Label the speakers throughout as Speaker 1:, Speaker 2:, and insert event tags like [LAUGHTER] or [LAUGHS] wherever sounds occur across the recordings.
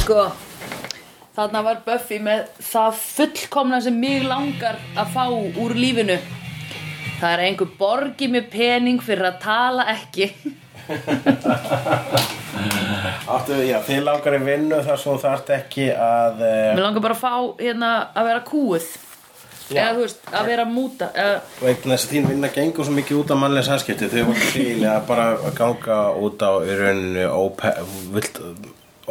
Speaker 1: Sko, Þarna var Buffy með það fullkomna sem mig langar að fá úr lífinu. Það er að einhver borgi með pening fyrir að tala ekki.
Speaker 2: Áttu, já, þið langar í vinnu þar sem þú þarft ekki að
Speaker 1: Mér
Speaker 2: uh,
Speaker 1: langar bara að fá hérna að vera kúið.
Speaker 2: Já.
Speaker 1: Eða þú veist, að vera múta. Eða,
Speaker 2: veitin þess að þín vinna gengur svo mikið út af mannlega samskipti þau voru til að bara að ganga út á í rauninu ópe, vilt,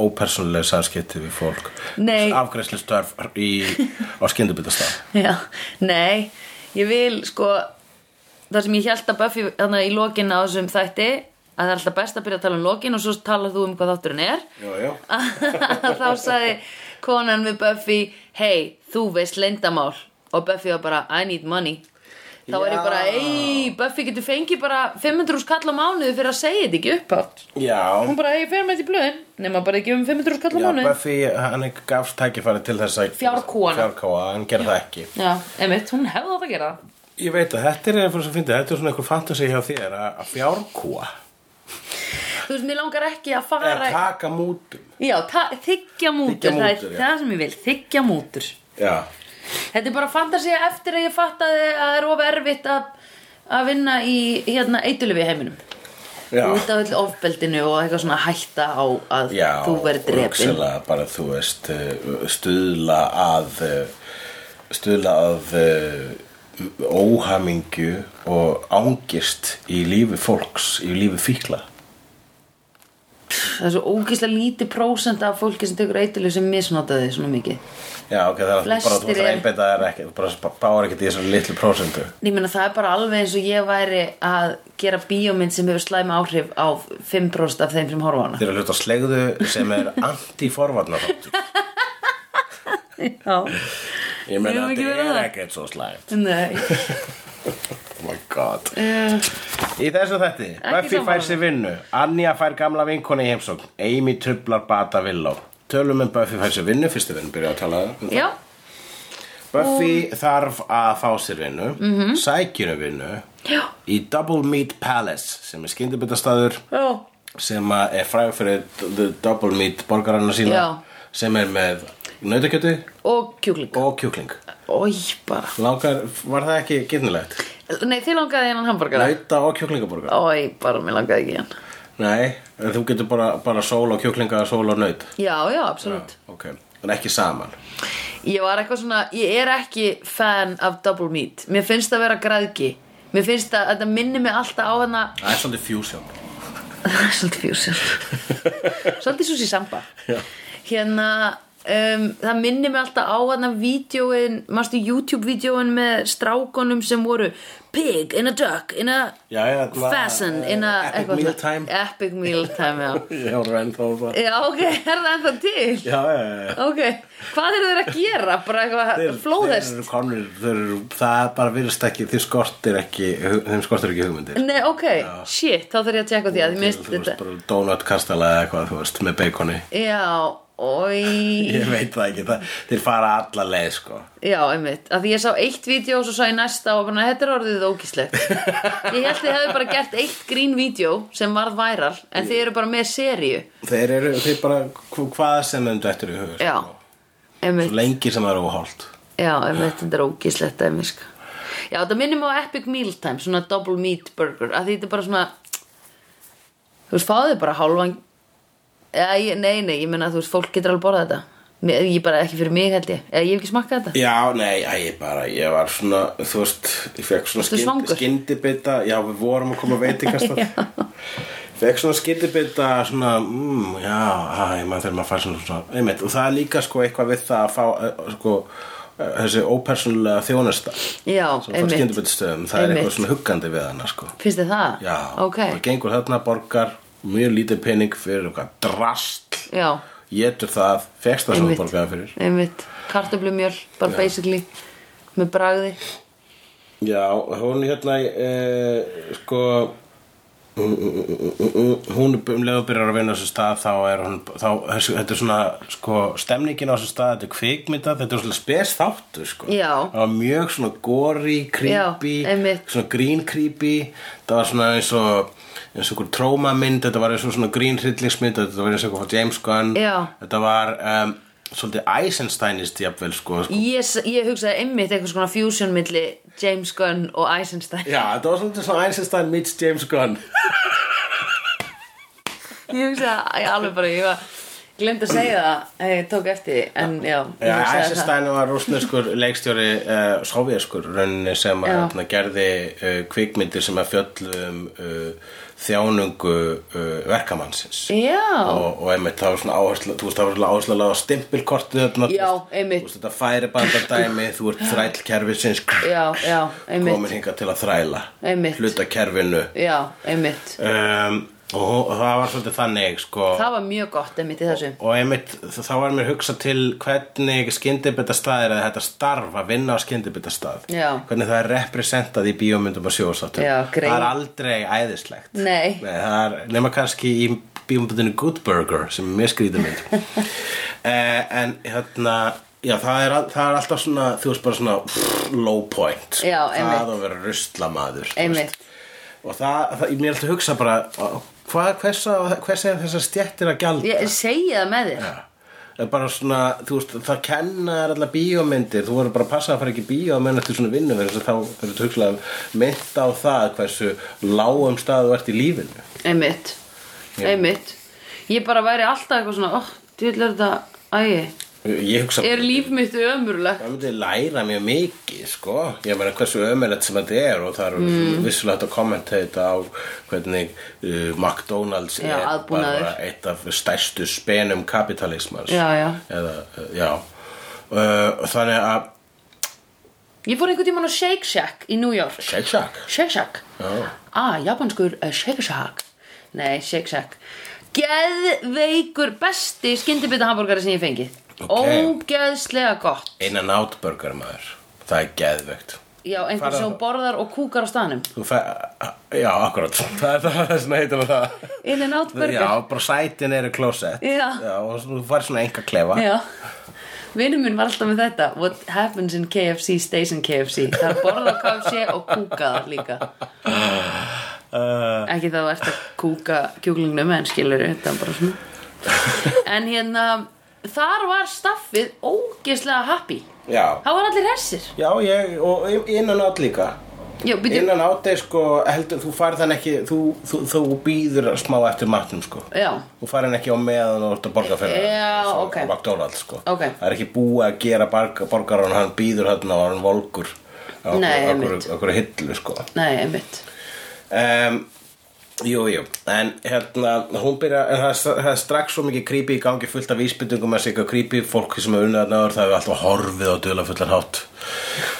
Speaker 2: ópersónulega samskipti við fólk
Speaker 1: Nei.
Speaker 2: afgreðslu störf í, á skyndubitastaf
Speaker 1: já, nei, ég vil sko, það sem ég held að Buffy þarna í lokin á þessum þætti, að það er alltaf best að byrja að tala um lokin og svo talar þú um hvað þátturinn er.
Speaker 2: Jú, jú
Speaker 1: [LAUGHS] þá sagði konan við Buffy hei, þú veist leyndamál og Buffy var bara, I need money þá er ég bara,
Speaker 2: Já.
Speaker 1: ei, Buffy getur fengið bara 500 skall á mánuði fyrir að segja þetta ekki upphátt
Speaker 2: Já,
Speaker 1: hún bara, ei, fyrir með þetta í blöðin nema bara ekki um 500 skall á
Speaker 2: já
Speaker 1: mánuði
Speaker 2: Buffy, hann gafst tækifæri til þess að
Speaker 1: Fjárkúgana.
Speaker 2: Fjárkúgana, hann gerði það ekki
Speaker 1: já, emitt, hún hefði átt að gera það
Speaker 2: Ég veit að þetta er einhvern sem fyndi, þetta er svona einhver fantasi hjá þér að, að fjárkúa
Speaker 1: þú veist, mér langar ekki að
Speaker 2: eða
Speaker 1: fara
Speaker 2: taka mútum
Speaker 1: já, ta- þiggja mútur, það
Speaker 2: mútur,
Speaker 1: er
Speaker 2: já.
Speaker 1: það sem ég vil þiggja mútur
Speaker 2: Já,
Speaker 1: Þetta er bara fantasía eftir að ég fattaði að það er of erfitt að, að vinna í hérna, eitulifi heiminum
Speaker 2: já
Speaker 1: út af öll ofbeldinu og eitthvað svona hætta á að
Speaker 2: Já,
Speaker 1: þú verður drepin
Speaker 2: hugsanlega bara þú veist eh, stuðla að eh, stuðla að eh, óhamingju og ángist í lífi fólks, í lífi fíkla
Speaker 1: það er svo ógeðslega lítið prósent af fólki sem tekur eitulif sem misnotaði svona mikið
Speaker 2: Já, ok, það er bara þú
Speaker 1: Flestir
Speaker 2: ætlar að
Speaker 1: eru-
Speaker 2: einbeita þér ekki þú bara báir ekkert í þessum litlu prósentu
Speaker 1: en ég meina það er bara alveg eins og ég væri að gera bíómynd sem hefur slæma áhrif á 5% af þeim sem horfa á hana
Speaker 2: Þeir eru hlut á slegðu sem
Speaker 1: [LAUGHS]
Speaker 2: er anti-forvarnar
Speaker 1: [LAUGHS] já,
Speaker 2: Ég meina
Speaker 1: Eigum við ekki að
Speaker 2: að þetta
Speaker 1: vera
Speaker 2: er
Speaker 1: það?
Speaker 2: ekkert svo slæmt
Speaker 1: nei
Speaker 2: Oh my god
Speaker 1: uh,
Speaker 2: Í þessu þætti, Buffy
Speaker 1: sammála.
Speaker 2: fær sér vinnu Anja fær gamla vinkonu í heimsókn Amy trublar bata villó Tölum um Buffy fær sér vinnu, fyrstu vinnu byrja að tala um það.
Speaker 1: já,
Speaker 2: Buffy þarf að fá sér vinnu mm -hmm.
Speaker 1: Mhm.
Speaker 2: Sækjur um vinnu
Speaker 1: já,
Speaker 2: Í Double Meat Palace sem er skyndibitastaður
Speaker 1: já
Speaker 2: sem að er frægur fyrir The Double Meat borgarana sína
Speaker 1: Já.
Speaker 2: sem er með nautakjötu
Speaker 1: og kjúkling
Speaker 2: og kjúkling
Speaker 1: oi bara,
Speaker 2: Langar, var það ekki gyrnilegt?
Speaker 1: nei þið langaði hennan hamburgara
Speaker 2: Nauta og kjúklingaborgar
Speaker 1: oi bara, mér langaði ekki í hann
Speaker 2: Nei, en þú getur bara, bara sól og kjúklinga, sól og naut
Speaker 1: já, já, absolutt
Speaker 2: Ok, en ekki saman
Speaker 1: Ég var eitthvað svona, ég er ekki fan af Double Meat Mér finnst það að vera græðgi Mér finnst að þetta minni mig alltaf á hana
Speaker 2: Það er svolítið fusion
Speaker 1: [LAUGHS] Það er Svolítið fjúsjón
Speaker 2: [LAUGHS]
Speaker 1: Svolítið Susi Samba
Speaker 2: Já.
Speaker 1: Hérna, um, það minni mig alltaf á hana Vídeóin, mástu YouTube-vídeóin Með strákonum sem voru Pig in a duck in a
Speaker 2: Já, já, þetta var,
Speaker 1: Fasten
Speaker 2: eh,
Speaker 1: in a
Speaker 2: Epic
Speaker 1: eitthvað-
Speaker 2: Meal Time.
Speaker 1: Epic meal time, já
Speaker 2: Ég voru ennþá bara
Speaker 1: Já, ok, [LAUGHS] er það ennþá til?
Speaker 2: Já, já, já
Speaker 1: Ok, hvað eru þeir að gera? Bara eitthvað flóðest
Speaker 2: Þeir eru konur, þeir eru, það bara virðist ekki, þeir skortir ekki, þeim skortir ekki hugmyndir
Speaker 1: Nei, ok, shit, þá þarf ég að tjekka á því að því mist
Speaker 2: Þú veist,
Speaker 1: þetta
Speaker 2: bara donutkastala eða eitthvað, þú veist, með beikoni
Speaker 1: Já,
Speaker 2: [LAUGHS]
Speaker 1: oi
Speaker 2: Ég veit það ekki, það, þeir fara alla leið, sko
Speaker 1: Já, einmitt, af því ég sá eitt vídeo og svo sá ég næsta og bara, þetta er orðið
Speaker 2: [LAUGHS]
Speaker 1: ógíslegt Ég held þið hefði bara gert eitt grín vídeo sem varð væral en þið eru bara með seríu
Speaker 2: Þeir eru, þeir bara, hv- hvað sem þeim dættur í hugur
Speaker 1: Já, einmitt,
Speaker 2: Svo lengi sem það eru óholt
Speaker 1: já, einmitt, þetta er ógíslegt einmitt, sko Já, þetta minnum á Epic Mealtime, svona double meat burger af því þetta er bara svona Þú veist, fáðu þið bara hálfan Já, ég, nei, nei, ég meina, þú veist, fólk getur alveg borðað þetta Mér- Ég bara, ekki fyrir mig held ég Eða ég hef ekki smakkað þetta
Speaker 2: Já, nei, æ, ég bara, ég var svona, þú veist, ég fekk svona
Speaker 1: Varstu
Speaker 2: skynd-
Speaker 1: svangur?
Speaker 2: skyndibita, já, við vorum að koma að
Speaker 1: [LAUGHS]
Speaker 2: veitingastað. fekk svona skyndibita, svona, mm, já, æ, maður þegar maður fær svona, svona, einmitt, og það er líka sko eitthvað við það að fá, eh, sko, eh, þessi ópersónulega þjónusta
Speaker 1: Já,
Speaker 2: sem fær
Speaker 1: einmitt
Speaker 2: skyndibittastöðum, það er
Speaker 1: Einmitt.
Speaker 2: eitthvað svona huggandi við hana, sko.
Speaker 1: Finnst þið það?
Speaker 2: Já,
Speaker 1: Ok,
Speaker 2: það gengur þarna borgar, mjög lítið pening fyrir eitthvað drast,
Speaker 1: já,
Speaker 2: getur það, fekst það sem þú
Speaker 1: Einmitt.
Speaker 2: borgaði fyrir.
Speaker 1: einmitt Kartöflumjöl, bara basically Með bragði
Speaker 2: Já, hún hérna eh, sko mm, mm, mm, mm, hún um leið og byrjar að vinna á þessu stað þá er hún þá, þessu, þetta er svona sko, stemningin á þessu stað, þetta er kvikmynda þetta er svona spes þáttur sko
Speaker 1: Já.
Speaker 2: það var mjög svona gory, creepy
Speaker 1: Já, einmitt.
Speaker 2: svona green creepy það var svona eins og eins og einhver trómamynd, þetta var eins og svona green hryllingsmynd þetta var eins og eitthvað frá James Gunn
Speaker 1: Já.
Speaker 2: þetta var um, svolítið Eisensteinist jafnvel sko, sko.
Speaker 1: Ég, s- ég hugsaði einmitt eitthvað svona fusion milli James Gunn og Eisenstein
Speaker 2: Já, þetta var svolítið svona Eisenstein meets James Gunn
Speaker 1: Ég hugsaði ég, alveg bara, ég var Glemt að segja það, ég tók eftir því, En já, ég
Speaker 2: Já,
Speaker 1: hugsaði það.
Speaker 2: Eisenstein var rúsneskur leikstjóri uh, sovjeskur rauninni sem að
Speaker 1: Já.
Speaker 2: hérna, gerði uh, kvikmyndir sem að fjöllum um uh, þjánungu uh, verkamannsins
Speaker 1: Já,
Speaker 2: og, og einmitt það var svona áhersla þú veist það var svona áhersla að laga stimpilkortið þarna,
Speaker 1: Já,
Speaker 2: þú veist,
Speaker 1: einmitt.
Speaker 2: þú veist þetta færi bara dæmi þú ert þrælkerfisins
Speaker 1: já, já, einmitt
Speaker 2: komin hingað til að þræla
Speaker 1: Einmitt.
Speaker 2: hluta kerfinu
Speaker 1: Já, einmitt
Speaker 2: um, og hó- það var svolítið þannig sko
Speaker 1: Það var mjög gott einmitt í þessu
Speaker 2: og einmitt þ- þá var mér hugsa til hvernig skyndibitastaðir eða þetta starf að vinna á skyndibitastað
Speaker 1: Já.
Speaker 2: hvernig það er representað í bíómyndum og sjóðsáttum
Speaker 1: Já, grein.
Speaker 2: það er aldrei æðislegt
Speaker 1: Nei.
Speaker 2: það er nema kannski í bíómyndinu Good Burger sem er mjög skrýta mynd
Speaker 1: [LAUGHS]
Speaker 2: eh, en hérna Já, það er, al- það er alltaf svona, þú veist bara svona pff, low point.
Speaker 1: Já, einmitt.
Speaker 2: Það að vera ruslamaður. þú veist
Speaker 1: Einmitt,
Speaker 2: og það, það ég mér alltaf hugsa bara hvað, hvers, á- hvers er þessar stjettir að gjalda
Speaker 1: ég segi það með þér
Speaker 2: Það er bara svona, þú veist, það kenna er allar bíómyndir, þú voru bara að passa að fara ekki í bíó að menna eftir svona vinnu verið þá verður þú hugsalega mynd á það hversu lágum stað þú ert í lífinu
Speaker 1: Einmitt, einmitt Ég bara væri alltaf eitthvað svona Oh, þú vil er þetta, æi
Speaker 2: Ég hugsa,
Speaker 1: Er líf mitt ömurlegt
Speaker 2: það myndi læra mjög mikið, sko ég meina hversu ömulegt sem þetta er og það er mm. vissulega hægt að kommenta þetta á hvernig uh, McDonalds
Speaker 1: Já,
Speaker 2: er
Speaker 1: aðbúnaður.
Speaker 2: bara eitt af stærstu spenum kapitalismans
Speaker 1: Já, já.
Speaker 2: Eða, uh, já. Uh, þannig að,
Speaker 1: Ég fór einhvern tímann á Shake Shack í New York
Speaker 2: shake shack
Speaker 1: Shake Shack
Speaker 2: Já.
Speaker 1: Ah, japanskur uh, Shake Shack Nei, Shake Shack Geðveikur besti skyndibita hamburgari sem ég fengi
Speaker 2: Ok.
Speaker 1: Ógeðslega gott
Speaker 2: In and out burger maður Það er geðvegt
Speaker 1: Já, einhver
Speaker 2: Fara-
Speaker 1: sem borðar og kúkar á staðnum
Speaker 2: Þú fæ, Já, akkurat [LAUGHS] Það er það sem heitir með það
Speaker 1: In and out burger
Speaker 2: Já, bara sætin eru klósett
Speaker 1: Já.
Speaker 2: og þú fær svona enga klefa
Speaker 1: Já. Vinur minn var alltaf með þetta What happens in KFC stays in KFC Það er borða á KFC og kúka það líka
Speaker 2: uh,
Speaker 1: Ekki það þú ert að kúka kjúklingnum en skilur þetta er bara svona En hérna Þar var staffið ógeðslega happy
Speaker 2: Já
Speaker 1: Það var allir hessir
Speaker 2: Já, ég, og in and out líka
Speaker 1: Já, byrju,
Speaker 2: In and out er sko, heldur, þú fær þann ekki þú, þú, þú býður smá eftir matnum sko
Speaker 1: já,
Speaker 2: Þú fær hann ekki á meðan og ert að borga fyrir hann,
Speaker 1: Já,
Speaker 2: eins og
Speaker 1: ok.
Speaker 2: á McDonalds sko
Speaker 1: Ok.
Speaker 2: Það er ekki búið að gera borgar, borgar hann, hann býður hann og hann volgur á
Speaker 1: Nei,
Speaker 2: okkur,
Speaker 1: einmitt.
Speaker 2: okkur hillu sko
Speaker 1: nei, einmitt
Speaker 2: um, Jú, jú, en hérna hún byrja, en það, er- það er strax svo mikið creepy í gangi fullt af vísbyndingum að segja creepy fólki sem er unnað náður það hefur alltaf horfið á dula fullar hátt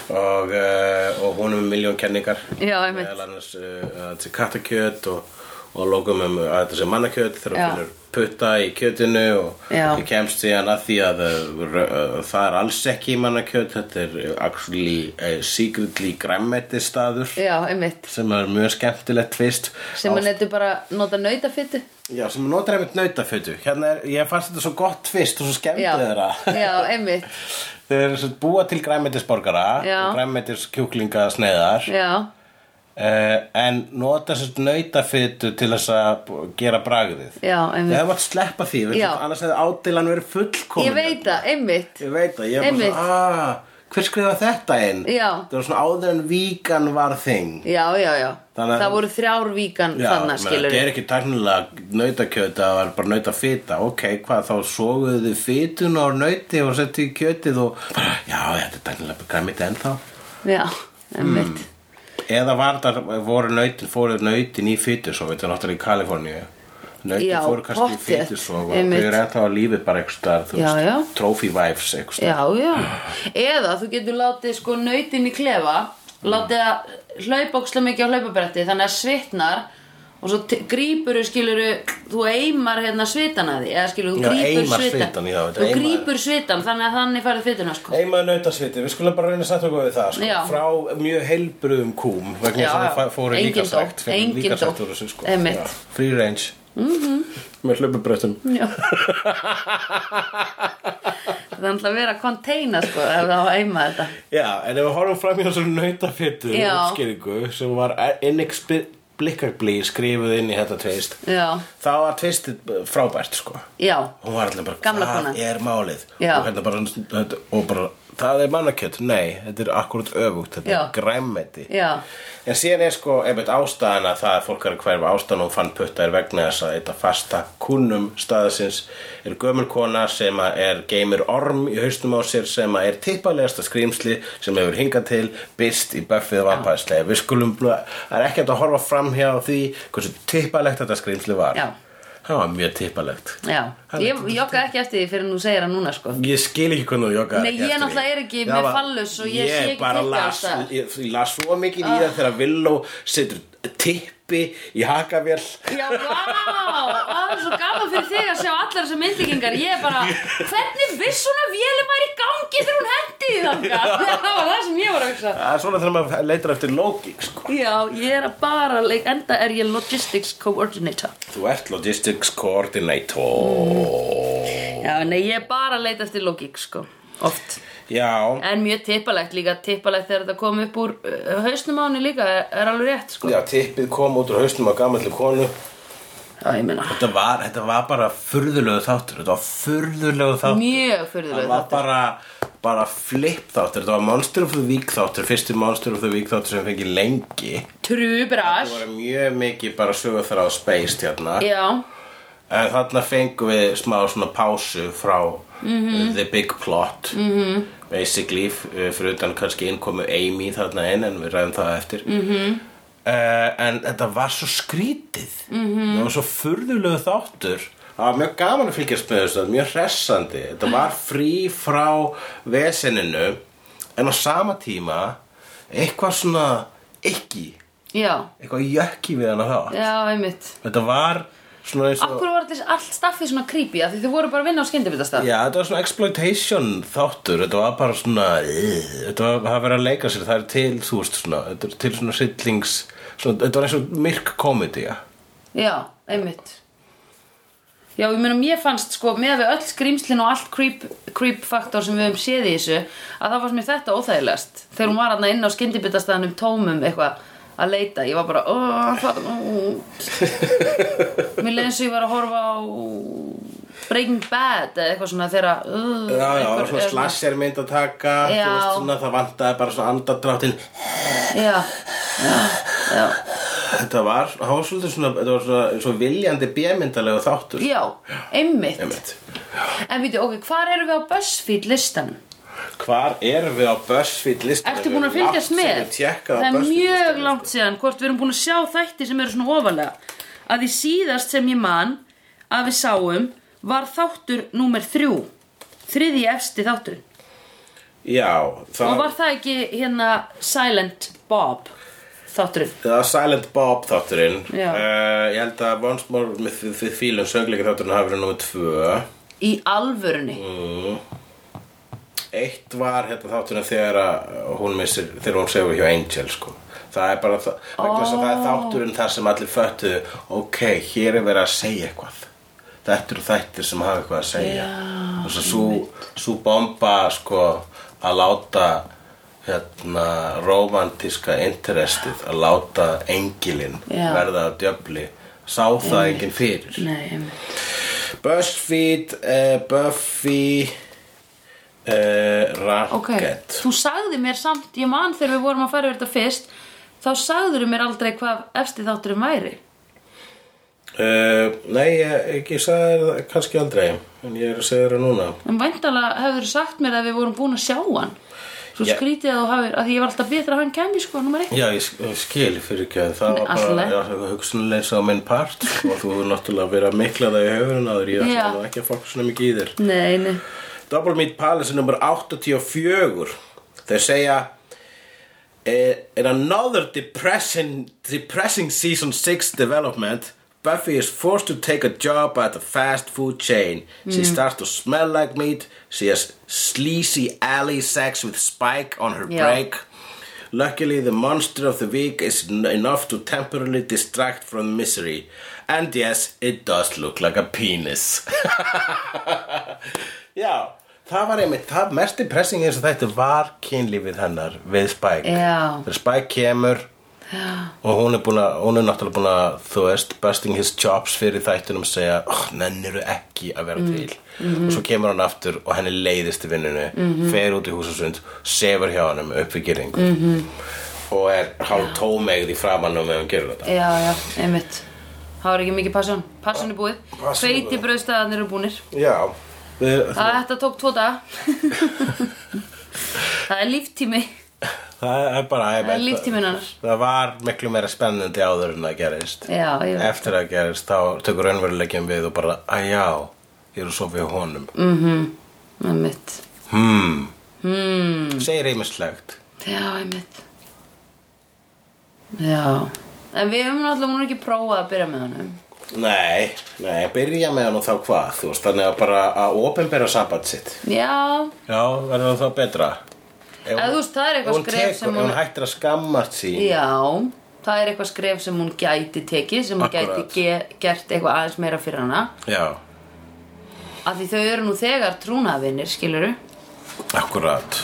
Speaker 2: og, uh, og hún er með miljón kenningar
Speaker 1: Já, einmitt.
Speaker 2: meðal annars uh, að þetta sé kattakjöt og, og lókum um að þetta sé mannakjöt þegar
Speaker 1: Já.
Speaker 2: hún finnur putta í kjötinu og
Speaker 1: Já.
Speaker 2: ég kemst síðan að því að uh, r- uh, það er alls ekki mannakjöt þetta er uh, actually uh, secretly græmmettistaður
Speaker 1: Já, einmitt
Speaker 2: sem er mjög skemmtilegt tvist
Speaker 1: Sem hann eitthvað bara nota nautafittu
Speaker 2: já, sem notar einmitt nautafötu hérna er, ég fannst þetta svo gott tvist og svo
Speaker 1: Já,
Speaker 2: skemmtilega þeirra [LAUGHS]
Speaker 1: já, einmitt
Speaker 2: þeir eru svo búa til græmetisborgara
Speaker 1: Já.
Speaker 2: og græmetiskjúklinga sneiðar
Speaker 1: Já,
Speaker 2: eh, en nota þessar nautafötu til þess að b- gera bragðið
Speaker 1: já,
Speaker 2: Við
Speaker 1: einmitt
Speaker 2: hefum að sleppa því, við
Speaker 1: Já.
Speaker 2: hefum annars hefði ádeilan verið fullkomin
Speaker 1: Ég veit það, einmitt
Speaker 2: Ég veit það, ég er bara
Speaker 1: Einmitt.
Speaker 2: svona, aaa, hver skrifa þetta inn?
Speaker 1: Já.
Speaker 2: Það var svona áður en víkan var þing
Speaker 1: Já, já, já
Speaker 2: Þannig að-
Speaker 1: Það voru þrjár víkan
Speaker 2: Já,
Speaker 1: þannig,
Speaker 2: ég meina,
Speaker 1: skilur
Speaker 2: þetta er ekki tæknilega nautakjöt það var bara nautafita, ok, hvað þá soguðu þið fitun á nauti og settu í kjötið og bara, já, þetta er tæknilega græmiti ennþá
Speaker 1: Já,
Speaker 2: Mm.
Speaker 1: einmitt
Speaker 2: eða var það, voru nautin, fóruð nautin í fitu, svo veit það náttúrulega í Kaliforníu nautin
Speaker 1: Já,
Speaker 2: fóru kannski í
Speaker 1: pottþétt,
Speaker 2: fitu svo og þau
Speaker 1: einmitt.
Speaker 2: eru ennþá að lífi bara einhvers staðar, þú
Speaker 1: Já, já.
Speaker 2: veist, trophy wives einhvers staðar.
Speaker 1: Já, já Eða þú getur látið sko nautin í klefa Látið að hlaupa ókslega mikið á hlaupabretti Þannig að svitnar Og svo grýpuru skiluru Þú eimar hérna svitan að því Eða skiluru,
Speaker 2: Já,
Speaker 1: þú grýpur
Speaker 2: eimar
Speaker 1: svitan
Speaker 2: svitann, já, þetta
Speaker 1: Þú
Speaker 2: eimar-
Speaker 1: grýpur svitan, þannig að þannig færið fituna sko
Speaker 2: Eimaðu nautasviti, við skulum bara reyna að setja okkur við það sko,
Speaker 1: Já.
Speaker 2: frá mjög heilbröðum kúm vegna þess
Speaker 1: Já,
Speaker 2: að
Speaker 1: já.
Speaker 2: það fa- fóru
Speaker 1: Engin
Speaker 2: líkasækt
Speaker 1: dó, engin
Speaker 2: líkasækt
Speaker 1: dó.
Speaker 2: úr þessu sko
Speaker 1: Einmitt. Mhm.
Speaker 2: Já, Free range mm -hmm. með hlaupubröttum
Speaker 1: Já
Speaker 2: [LAUGHS]
Speaker 1: Það er alltaf að vera að containa sko Ef það á að eima þetta
Speaker 2: Já, en ef við horfum fram í þessum nautafittu
Speaker 1: Já.
Speaker 2: útskýringu sem var inexpe- blikkarblí e- skrifuð inn í þetta tvist
Speaker 1: já,
Speaker 2: þá var tvistið frábært sko
Speaker 1: já,
Speaker 2: hún var alltaf bara,
Speaker 1: Gamla
Speaker 2: hvað
Speaker 1: konan."
Speaker 2: er málið
Speaker 1: Já.
Speaker 2: og hérna bara, þetta- og bara það er mannakjöt, nei, þetta er akkurat öfugt þetta
Speaker 1: Já.
Speaker 2: er græmmeti
Speaker 1: já,
Speaker 2: en síðan er sko, einmitt ástæðan að það að fólk er að hverfa ástæðan og hún fann putta er vegna þess að þetta fasta kunnum staðsins er gömul kona sem að er geimir orm í haustum á sér sem að er tippalegasta skrýmsli sem hefur hingað til byrst í Buffy og vampæðslega við skulum, blö- það er ekki hægt að horfa framhjá því hversu tippalegt þetta skrýmsli var
Speaker 1: Já.
Speaker 2: það var mjög tippalegt
Speaker 1: já ég jogga ekki eftir því fyrir nú segir hann núna sko
Speaker 2: Ég skil ekki hvernig þú joggaði
Speaker 1: Nei,
Speaker 2: ekki
Speaker 1: ég
Speaker 2: eftir því.
Speaker 1: náttúrulega er ekki
Speaker 2: Það
Speaker 1: með
Speaker 2: var-
Speaker 1: fallus og ég sé ekki Ah.
Speaker 2: bara
Speaker 1: titta
Speaker 2: las,
Speaker 1: alltaf.
Speaker 2: ég, ég las svo mikið í það þegar Villó setur tippi í hakavél
Speaker 1: Já, vá, það er svo gaman fyrir þig að sjá allar þessar myndlíkingar Ég er bara, hvernig viss hún að vélum var í gangi þegar hún hendi því þangað [LAUGHS] Það var það sem ég var að hugsa
Speaker 2: Það er svona þegar maður leitar eftir lógík sko.
Speaker 1: Já, ég er að bara, leik, enda er ég logistics coordinator
Speaker 2: Þú ert logistics
Speaker 1: Mm.
Speaker 2: coordinator
Speaker 1: Já, nei, ég er bara að leita eftir logík, sko, oft
Speaker 2: Já,
Speaker 1: En mjög tippalegt líka, tippalegt þegar þetta kom upp úr uh, hausnum á henni líka, er, er alveg rétt, sko
Speaker 2: já, tippið kom út úr hausnum á gamalli konu
Speaker 1: Já, ég meina,
Speaker 2: Þetta var, þetta var bara furðulegu þáttur Þetta var furðulegu þáttur
Speaker 1: mjög
Speaker 2: Það
Speaker 1: fyrðulega
Speaker 2: var bara, bara flip þáttur Þetta var Monster of the Week þáttur Fyrsti Monster of the Week þáttur sem fengi lengi
Speaker 1: Trubras,
Speaker 2: Það var mjög mikið bara sögur þar á space hérna
Speaker 1: já,
Speaker 2: En þarna fengum við smá svona pásu frá uh, The Big Plot -hmm. Basically, f- uh, fyrir utan kannski innkomu Amy þarna inn En við ræðum það eftir -hmm. En þetta var svo skrítið -hmm. Það var svo furðulegu þáttur Það var mjög gaman að fylgjast með þessu, mjög hressandi Þetta var frí frá veseninu En á sama tíma, eitthvað svona ekki
Speaker 1: já,
Speaker 2: Eitthvað jökki við hana þá
Speaker 1: já, einmitt
Speaker 2: Þetta var svona eins og
Speaker 1: Akkur var þetta allt staffið svona creepy af því þið voru bara að vinna á skyndibitastað
Speaker 2: Já, þetta var svona exploitation þáttur Þetta var bara svona "Ugh", Þetta var að vera að leika sér, það er til þú veist svona, þetta er til svona sillings svona, Þetta var eins og myrk komedi
Speaker 1: Já, einmitt Já, ég meina, mér fannst sko með við öll skrýmslin og allt creep, creep faktor sem við höfum séð í þessu að það fannst mér þetta óþægilegast þegar hún var hann inn á skyndibitastaðanum tómum eitthvað að leita, ég var bara "Ó, hvað út
Speaker 2: [LAUGHS]
Speaker 1: Mér leið eins og ég var að horfa á Breaking Bad eða eitthvað svona þegar að, "Ugh",
Speaker 2: Já, já, það
Speaker 1: einhver- um,
Speaker 2: var svona slasher mynd að taka þú
Speaker 1: Já.
Speaker 2: veist, svona, Það vantaði bara svona andadráttin
Speaker 1: Já, já, já
Speaker 2: Þetta var, það var svolítið svona, þetta var svona, svona viljandi bjömyndalega þáttur
Speaker 1: Já, einmitt
Speaker 2: Einmitt.
Speaker 1: En veitu, ok, hvar erum við á BuzzFeed listanum?
Speaker 2: Hvar erum við á BuzzFeed listanum?
Speaker 1: Ertu búin að fylgjast með?
Speaker 2: Það
Speaker 1: Það er mjög langt síðan hvort við erum búin að sjá þætti sem eru svona ofalega að því síðast sem ég man að við sáum var þáttur númer þrjú þriði efsti þáttur
Speaker 2: Já, það
Speaker 1: og var það ekki hérna Silent Bob þátturinn
Speaker 2: Það var Silent Bob þátturinn
Speaker 1: Já.
Speaker 2: Eh, Ég held að Once More með því fílum söngleika þátturinn hafi verið nummer tvö
Speaker 1: í alvörunni
Speaker 2: Eitt var hérna þátturinn þegar að hún missir, þegar hún segur hjá Angel sko Það er bara það, vegna þess að það er þátturinn þar sem allir föttu Ok, hér er verið að segja eitthvað Þetta eru þættir sem hafa eitthvað að segja Þess að svo, svo bomba sko að láta hérna romantíska interestið að láta engilinn
Speaker 1: Já.
Speaker 2: verða að djöfli Sá það enginn fyrir
Speaker 1: Nei, einmitt.
Speaker 2: BuzzFeed, uh, Buffy, uh,
Speaker 1: ok,
Speaker 2: Racket
Speaker 1: þú sagði mér samt, ég man þegar við vorum að fara yfir þetta fyrst þá sagðurðu mér aldrei hvað efsti þátturinn væri
Speaker 2: uh, Nei, ég, ég, ég sagði það kannski aldrei En ég er að segja það núna
Speaker 1: En væntalega hefur sagt mér að við vorum búin að sjá hann Svo
Speaker 2: Já.
Speaker 1: skrítið að þú hafir að því ég var alltaf betra að hann kemi sko, nummer eitt
Speaker 2: Já, ég sk- ég skil fyrir ekki að það
Speaker 1: Nei,
Speaker 2: var
Speaker 1: allt í
Speaker 2: bara
Speaker 1: lagi.
Speaker 2: já, það var hugsunleysa á minn part og þú hefur náttúrulega verið að mikla það í höfurinn áður ég
Speaker 1: Já.
Speaker 2: ætla nú ekki að fokka svona mikið í þér
Speaker 1: Nei, nei
Speaker 2: Double Meat Palace er nummer 84 Þeir segja "Eh, In another depressing, depressing season 6 development Buffy is forced to take a job at a fast food chain. She starts to smell like meat. She has sleazy alley sex with Spike on her
Speaker 1: Já.
Speaker 2: break. Luckily, the monster of the week is n- enough to temporarily distract from misery. And yes, it does look like a penis. Já, það var einmitt, það mest depressing eins og þetta var kynlífið hennar við Spike.
Speaker 1: Já.
Speaker 2: Þegar Spike kemur og hún er búin að, hún er náttúrulega búin að þú veist, busting his chops fyrir þættunum segja, oh, menn eru ekki að vera
Speaker 1: Mm,
Speaker 2: til
Speaker 1: mhm.
Speaker 2: og svo kemur hann aftur og henni leiðist í vinnunni fer út í húsasund, sefur hjá hann um uppvíkering mm
Speaker 1: Mhm.
Speaker 2: -hmm. og er hálf tómegð í framann og meðan gerur þetta
Speaker 1: Já, já, einmitt Það var ekki mikið passjón Passjón er búið
Speaker 2: Passion er búið.
Speaker 1: Feiti brauðstæðanir eru búnir
Speaker 2: Já, við,
Speaker 1: Það þetta tók tvo
Speaker 2: [LAUGHS]
Speaker 1: daga Það er líftími
Speaker 2: það er bara
Speaker 1: Það er líftíminn hennar.
Speaker 2: Það var miklu meira spennandi áður en það gerist
Speaker 1: Já, ég veit
Speaker 2: Eftir að gerist þá tökur raunveruleikjum við og bara, að já, ég er að sofa hjá honum
Speaker 1: Mm. Einmitt
Speaker 2: Hmm Hmm Segir einmislegt
Speaker 1: Já, einmitt Já En við höfum náttúrulega múin ekki prófað að byrja með honum
Speaker 2: Nei, nei, byrja með hann og þá hvað Þú veist, þannig að bara að opinbera samband sitt
Speaker 1: Já,
Speaker 2: Já, verður það þá betra Ef,
Speaker 1: Eða þú veist, það er eitthvað
Speaker 2: ef hún
Speaker 1: skref
Speaker 2: tekur-
Speaker 1: sem
Speaker 2: Ef
Speaker 1: hún-
Speaker 2: hún hættir að skammast sín
Speaker 1: já Það er eitthvað skref sem hún gæti tekið sem hún
Speaker 2: Akkúrat.
Speaker 1: gæti ge gert eitthvað aðeins meira fyrir hana
Speaker 2: Já,
Speaker 1: Af því þau eru nú þegar trúnaðvinir, skilurðu
Speaker 2: akkurat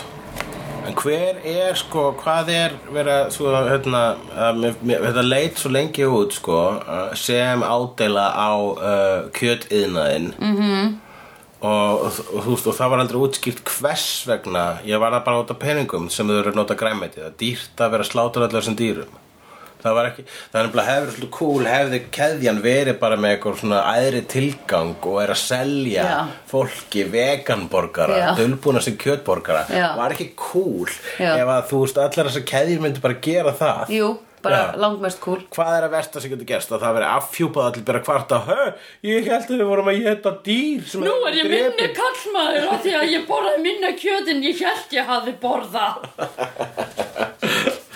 Speaker 2: En hver er, sko, hvað er vera, svo, hérna, að mér- mér- þetta leit svo lengi út, sko að- sem ádela á uh, kjötiðnaðinn -hmm.
Speaker 1: Mhm.
Speaker 2: og, og, og, þú veist, og það var aldrei útskýrt hvers vegna ég var það bara út af peningum sem þau eru að nota græmeti það er dýrt að vera slátur allar sem dýrum það var ekki, það er nefnilega hefur svolítið cool hefði keðjan verið bara með eitthvað svona æðri tilgang og er að selja
Speaker 1: Já.
Speaker 2: fólki veganborgara,
Speaker 1: Já.
Speaker 2: dulbúna sem kjötborgara
Speaker 1: Já.
Speaker 2: var ekki cool
Speaker 1: Já.
Speaker 2: ef að þú veist, allar þessar keðjur myndi bara gera það
Speaker 1: Jú, bara
Speaker 2: Já.
Speaker 1: langmest kúl
Speaker 2: hvað er að versta sem getur gerst að það veri afhjúpað allir bara kvarta hö, ég held að við vorum að geta dýr sem
Speaker 3: Nú
Speaker 2: hefur
Speaker 3: er ég
Speaker 2: verið
Speaker 3: minni
Speaker 2: drepin."
Speaker 3: kallmaður af því að ég borðaði minna kjöt en ég held ég hafi borðað.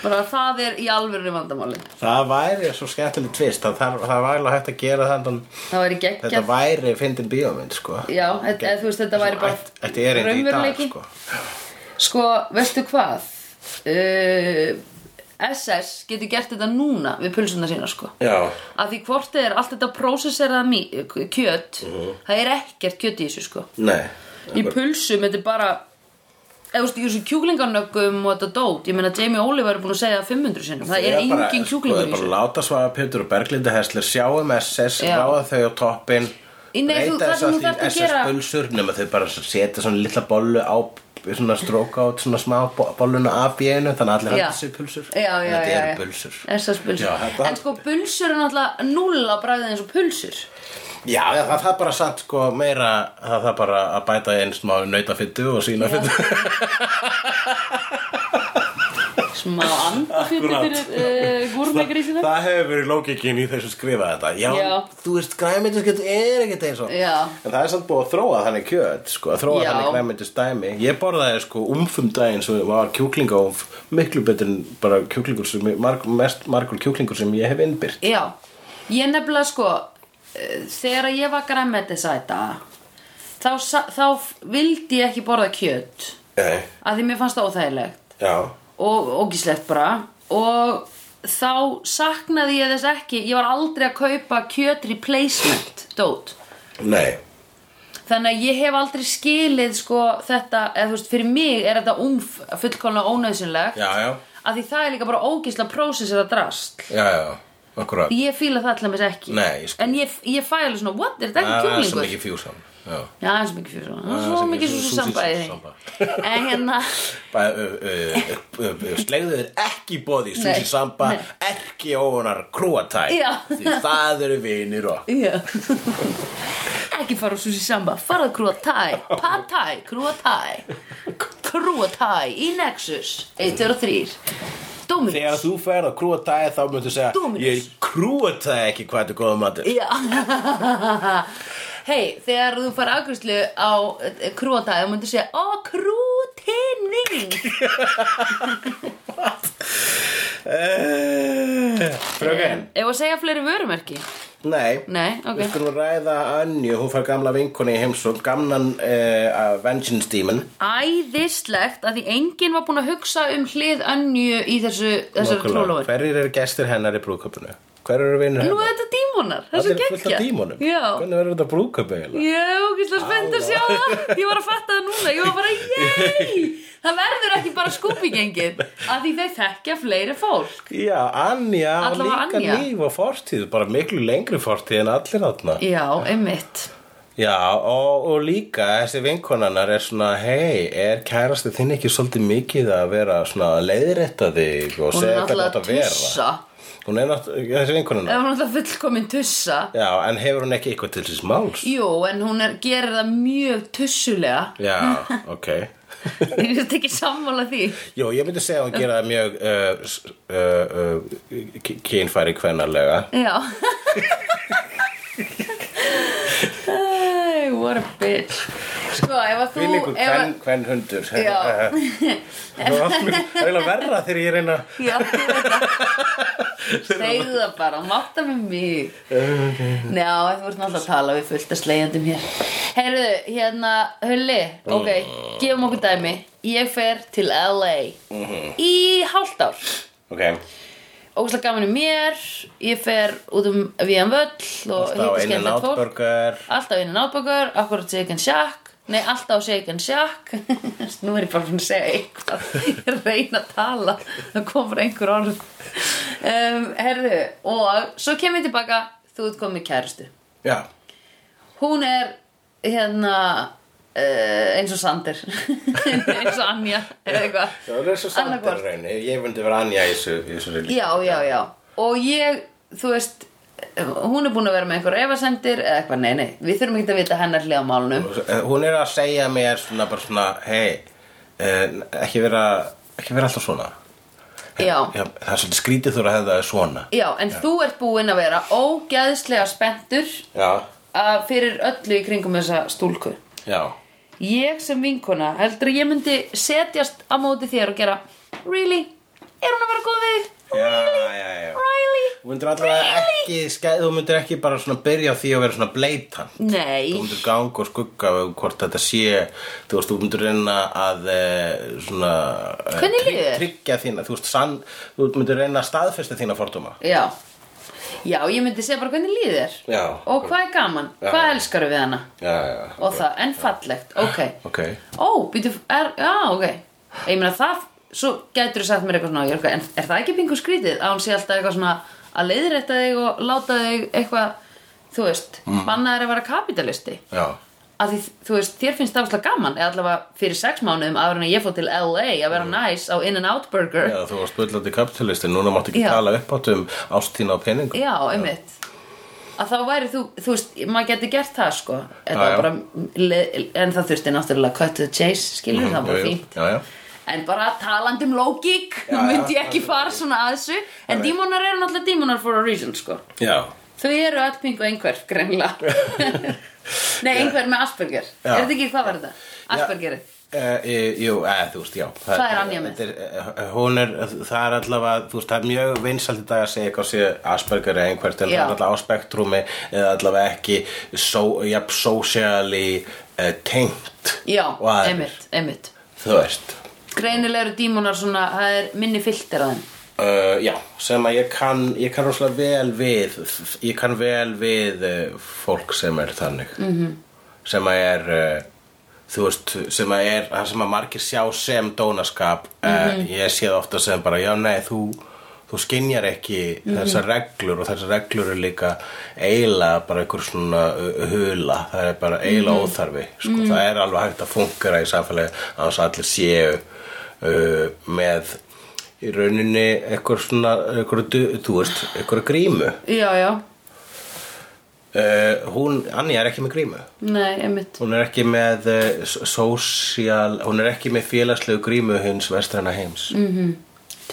Speaker 1: Bara það er í alvöru vandamáli
Speaker 2: það væri svo skemmtileg tvist það, það, það væri alveg hægt að gera þannig
Speaker 1: Það væri geggjað
Speaker 2: þetta væri fyndin bíómynd sko.
Speaker 1: Já, þetta- eða þú veist, þetta væri bara
Speaker 2: Ætt- Þetta er einnig í dag
Speaker 1: raunveruleiki.
Speaker 2: sko.
Speaker 1: Sko, veistu hvað? Uh, SS getur gert þetta núna við pulsuna sína, sko.
Speaker 2: Já,
Speaker 1: Af því hvort þið er allt þetta prósesserað mý- kjöt, það er ekkert kjöt í þessu, sko.
Speaker 2: Mhm. nei
Speaker 1: Í pulsum, þetta er bara, eða þú veist, í þessu kjúklingarnöggum og þetta dót, ég meina Jamie Oliver er búin að segja það 500 sinnum, það er engin kjúklingur í
Speaker 2: Bara
Speaker 1: þessu.
Speaker 2: láta svaða Pétur og Berglindi Hessler sjáum SS,
Speaker 1: Já.
Speaker 2: ráða þau á toppin
Speaker 1: Í- nei, þú- það sem þú þarft að gera-
Speaker 2: SS-bulsur nema þau bara setja svona litla bollu á svona stróka át svona smá bo- bolluna af í einu þannig að allir
Speaker 1: Já.
Speaker 2: hætti sig pulsur
Speaker 1: Já, já,
Speaker 2: þetta
Speaker 1: já,
Speaker 2: eru
Speaker 1: já.
Speaker 2: pulsur
Speaker 1: SS pulsur.
Speaker 2: Já, þetta-
Speaker 1: en sko, pulsur er náttúrulega null á bræðið eins og pulsur.
Speaker 2: Já, já, það það er bara satt sko meira það það bara að bæta einn smá nautafittu og sínafittu [LAUGHS]
Speaker 1: Smá eh, and.
Speaker 3: Fyrir
Speaker 2: Akkurát.
Speaker 3: uh, gúrmegrísina.
Speaker 2: Það hefur verið lókikin í þessu skrifa þetta Já,
Speaker 3: Já.
Speaker 2: þú veist, græmyndiskjöt er ekkert eins og
Speaker 1: Já.
Speaker 2: En það er samt búið að þróa þannig kjöt sko, að þróa
Speaker 1: Já.
Speaker 2: þannig græmyndistæmi Ég borðaði sko umfum daginn sem var kjúklingaúmf miklu betur en bara kjúklingur sem marg, mest margur kjúklingur sem ég hef innbyrt
Speaker 1: Já, ég nefnilega sko eh, þegar ég var græmetisæta þá, sa- þá f- vildi ég ekki borða kjöt
Speaker 2: Nei,
Speaker 1: af því mér fannst það óþægilegt
Speaker 2: já
Speaker 1: og ógíslegt bara og þá saknaði ég þess ekki ég var aldrei að kaupa kjöt replacement dót
Speaker 2: Nei,
Speaker 1: Þannig að ég hef aldrei skilið sko þetta, eða þú veist, fyrir mig er þetta umf fullkomlega ónöðsynlegt
Speaker 2: Já, já.
Speaker 1: Af því það er líka bara ógísla prósess eða drast
Speaker 2: já, já, akkurat
Speaker 1: Ég fíla það til að mér ekki
Speaker 2: Nei, ég skil.
Speaker 1: En ég, ég fæ alveg svona, what, er þetta ekki
Speaker 2: Það er
Speaker 1: kjúklingur?
Speaker 2: svo mikið fjúsam Já
Speaker 1: Já, það er svo mikið fyrir svona
Speaker 2: Það er
Speaker 1: Svo
Speaker 2: svo
Speaker 1: mikið
Speaker 2: mikið
Speaker 1: svo
Speaker 2: sú-
Speaker 1: sambæði
Speaker 2: sambæði.
Speaker 1: En hérna,
Speaker 2: Bara, ö, ö, ö, ö, ö, Slegðu þér ekki bóði Susi
Speaker 1: Nei,
Speaker 2: Samba,
Speaker 1: nei.
Speaker 2: ekki óunar krúatæ
Speaker 1: Já.
Speaker 2: Því það eru vinir og
Speaker 1: já Ekki fara á sushi samba, farað krúa tæ Pad tæ, krúa tæ Krúa tæ í Nexus 1 og 3 Dóminus
Speaker 2: Þegar þú ferð á krúatæ þá myndu segja
Speaker 1: Dominos.
Speaker 2: Ég krúatæ ekki hvað þetta er góða matur
Speaker 1: Já Hei, þegar þú fara afgjörslu á eh, krúa tæ þá myndir segja, ó krútin þín
Speaker 2: Eh, Fröken
Speaker 1: Ef að segja fleiri vörumerki
Speaker 2: Nei,
Speaker 1: Nei, ok.
Speaker 2: við skulum ræða Önju, hún fær gamla vinkonu í heimsókn Gamlan uh, Vengeance Demon
Speaker 1: æðislegt að því enginn var búinn að hugsa um hlið önju í þessu, þessari
Speaker 2: Nákvæmlega.
Speaker 1: trólóin.
Speaker 2: Hverjir eru gestir hennar í brúðköpunni? Hverjir eru vinur
Speaker 1: Nú
Speaker 2: hennar?
Speaker 1: er þetta dímonar, það er svo
Speaker 2: Þetta er fullt
Speaker 1: geggja
Speaker 2: af dímonum
Speaker 1: Já,
Speaker 2: Hvernig verður þetta brúðkaup eiginlega?
Speaker 1: ég er ógeðslega spennt að sjá það Ég var að fatta það núna, ég var bara Yey, það verður ekki bara
Speaker 2: [LAUGHS]
Speaker 1: skúpigengið Af því þeir þekkja fleiri fólk
Speaker 2: Já, Anja á
Speaker 1: Alla var
Speaker 2: líka
Speaker 1: Anja.
Speaker 2: líf og fortíð bara miklu lengri fortíð en allir þarna
Speaker 1: Já, einmitt
Speaker 2: Já, og, og líka þessi vinkonannar er svona hei, er kærasti þinn ekki svolítið mikið að vera svona að leiðrétta þig og
Speaker 1: Hún er
Speaker 2: segja hvernig
Speaker 1: náttúrulega
Speaker 2: átt að vera
Speaker 1: tussa
Speaker 2: Hún er náttúrulega, þessi
Speaker 1: Ef
Speaker 2: vinkonannar
Speaker 1: hún er náttúrulega fullkomin tussa
Speaker 2: Já, en hefur hún ekki eitthvað til þess máls?
Speaker 1: Jú, en hún er, gerir það mjög tussulega [LAUGHS]
Speaker 2: Já, ok
Speaker 1: Ég veist ekki sammála því
Speaker 2: Jó, ég myndi segja að hún gera það mjög uh, s- uh, uh, k- kynfæri kvennarlega [LAUGHS]
Speaker 1: Já Æ, What a bitch Sko, ef að þú
Speaker 2: Fylgur
Speaker 1: ef að-
Speaker 2: kvenn, kvenn hundur [LAUGHS]
Speaker 1: Já.
Speaker 2: Það er eiginlega verra þegar ég reyna
Speaker 1: Já, ég veit það Segðu það bara, mátta með mig Njá, þú ert náttúrulega að tala við fullt að slegjandum hér Heyrðu, hérna, Hulli Ok, gefum okkur dæmi Ég fer til LA Í hálft ár
Speaker 2: Ok,
Speaker 1: Ógæslega gaman í mér Ég fer út um víðan völl Og
Speaker 2: alltaf
Speaker 1: hitta
Speaker 2: einu
Speaker 1: skemmtilegt fólk
Speaker 2: náttburger
Speaker 1: Alltaf inn í náttbökur, akkurat shake and shack Nei, alltaf shake and shack [LAUGHS] Nú er ég bara svona að segja eitthvað Ég er að reyna að tala Það kom frá einhver orð um, Herðu, og svo kem ég tilbaka Þú ert komið kærustu
Speaker 2: Já,
Speaker 1: Hún er hérna uh, eins og Sander [LAUGHS] Eins og Anja Eða eitthvað
Speaker 2: Já, það er svo
Speaker 1: Annaðhvort.
Speaker 2: sandur reyni Ég myndi vera Anja í þessu, í þessu líka.
Speaker 1: já, já, já og ég, þú veist hún er búin að vera með einhver efasendir eða eitthvað, nei, nei, við þurfum ekki að vita hennar hlið á málunum
Speaker 2: Eh, Hún er að segja mér svona bara svona Hei, eh, ekki vera, ekki vera alltaf svona
Speaker 1: já,
Speaker 2: Já, Það er svolítið skrítið þú eru að hefða það er svona
Speaker 1: já, en þú ert búin að vera ógeðslega spenntur
Speaker 2: Já,
Speaker 1: að fyrir öllu í kringum þessa stúlku
Speaker 2: já
Speaker 1: ég sem vinkona, heldur að ég myndi setjast á móti þér og gera really, er hún að vera góð við þig?
Speaker 2: Já, já, já.
Speaker 1: really?
Speaker 2: Þú myndir allavega ekki, skeið, þú myndir ekki bara svona byrja á því að vera svona bleitan.
Speaker 1: nei,
Speaker 2: Þú myndir ganga og skugga um hvort þetta sé, þú veist, þú myndir reyna að eh, svona eh,
Speaker 1: Hvernig
Speaker 2: trygg-
Speaker 1: líður þér?
Speaker 2: tryggja þína, þú veist, sann, þú myndir reyna að staðfesta þína fordóma.
Speaker 1: já já, ég myndi segja bara hvernig líð þér
Speaker 2: Já.
Speaker 1: og hvað er gaman,
Speaker 2: Já.
Speaker 1: hvað elskaru við hana
Speaker 2: Já, já, já.
Speaker 1: og það, en fallegt, ok
Speaker 2: Ok.
Speaker 1: ó, býtu, er, já, ok ég meina það, svo gætur þú sagt mér eitthvað svona, ég er eitthvað, en er það ekki pingu skrítið að hún sé alltaf eitthvað svona að leiðrétta þig og láta þig eitthvað þú veist,
Speaker 2: Mhm.
Speaker 1: mm. banna þér að vera kapitalisti
Speaker 2: Já.
Speaker 1: að því, þú veist, þér finnst það áslega gaman eða allavega fyrir sex mánuðum áður en ég fór til LA að vera næs á In-N-Out Burger
Speaker 2: Já, þú varst bullandi kapitalisti, núna máttu ekki
Speaker 1: Já.
Speaker 2: tala uppátt um ástína og peningum.
Speaker 1: Já, einmitt að þá væri þú, þú veist, maður geti gert það sko Þetta
Speaker 2: Já, já.
Speaker 1: var bara, le- en það þurfti náttúrulega cut to the chase, skilur það var bara fínt
Speaker 2: Mhm, Já, já.
Speaker 1: En bara talandi um lógík,
Speaker 2: Já, já,
Speaker 1: myndi ég ekki fara svona að þessu En dímonar eru náttúrulega dímonar for a reason, sko
Speaker 2: Já.
Speaker 1: Þau eru öll pingu einhver,
Speaker 2: [LAUGHS]
Speaker 1: greinlega Nei, einhver með Asperger
Speaker 2: Já.
Speaker 1: Er þetta ekki, hvað var þetta? Aspergeri
Speaker 2: Uh, jú, eh, þú veist, já
Speaker 1: Það er Anja með.
Speaker 2: þetta er, eh, Hún er, það er allavega þú veist, það er mjög vinsalt í dag að segja eitthvað sé Asperger eða einhvert en
Speaker 1: Já.
Speaker 2: það er allavega á spektrumi eða allavega ekki so, jafn, socially uh, tengt
Speaker 1: Já,
Speaker 2: og aðrir,
Speaker 1: einmitt, einmitt
Speaker 2: Þú veist
Speaker 1: Greinilega eru dímonar svona, það er minni filter að þeim
Speaker 2: uh, Já, sem að ég kann ég kann rosalega vel við ég kann vel við uh, fólk sem er þannig
Speaker 1: Mhm.
Speaker 2: -hmm. sem að er uh, þú veist, sem að er það sem að margir sjá sem dónaskap mm ég sé það ofta sem bara já nei þú, þú skinjar ekki þessar reglur og þessar reglur er líka eiginlega bara einhver svona uh, hula, það er bara eiginlega óþarfi sko, það er alveg hægt að fungera í samfélagi að þess að allir séu uh, með í rauninni eitthvað svona eitthvað, þú veist, eitthvað grímu
Speaker 1: Já, já,
Speaker 2: uh, hún, Anja er ekki með grímu
Speaker 1: nei, einmitt
Speaker 2: Hún er ekki með eh, s- social, hún er ekki með félagslegu grímu hins vestræna heims.
Speaker 1: Mm.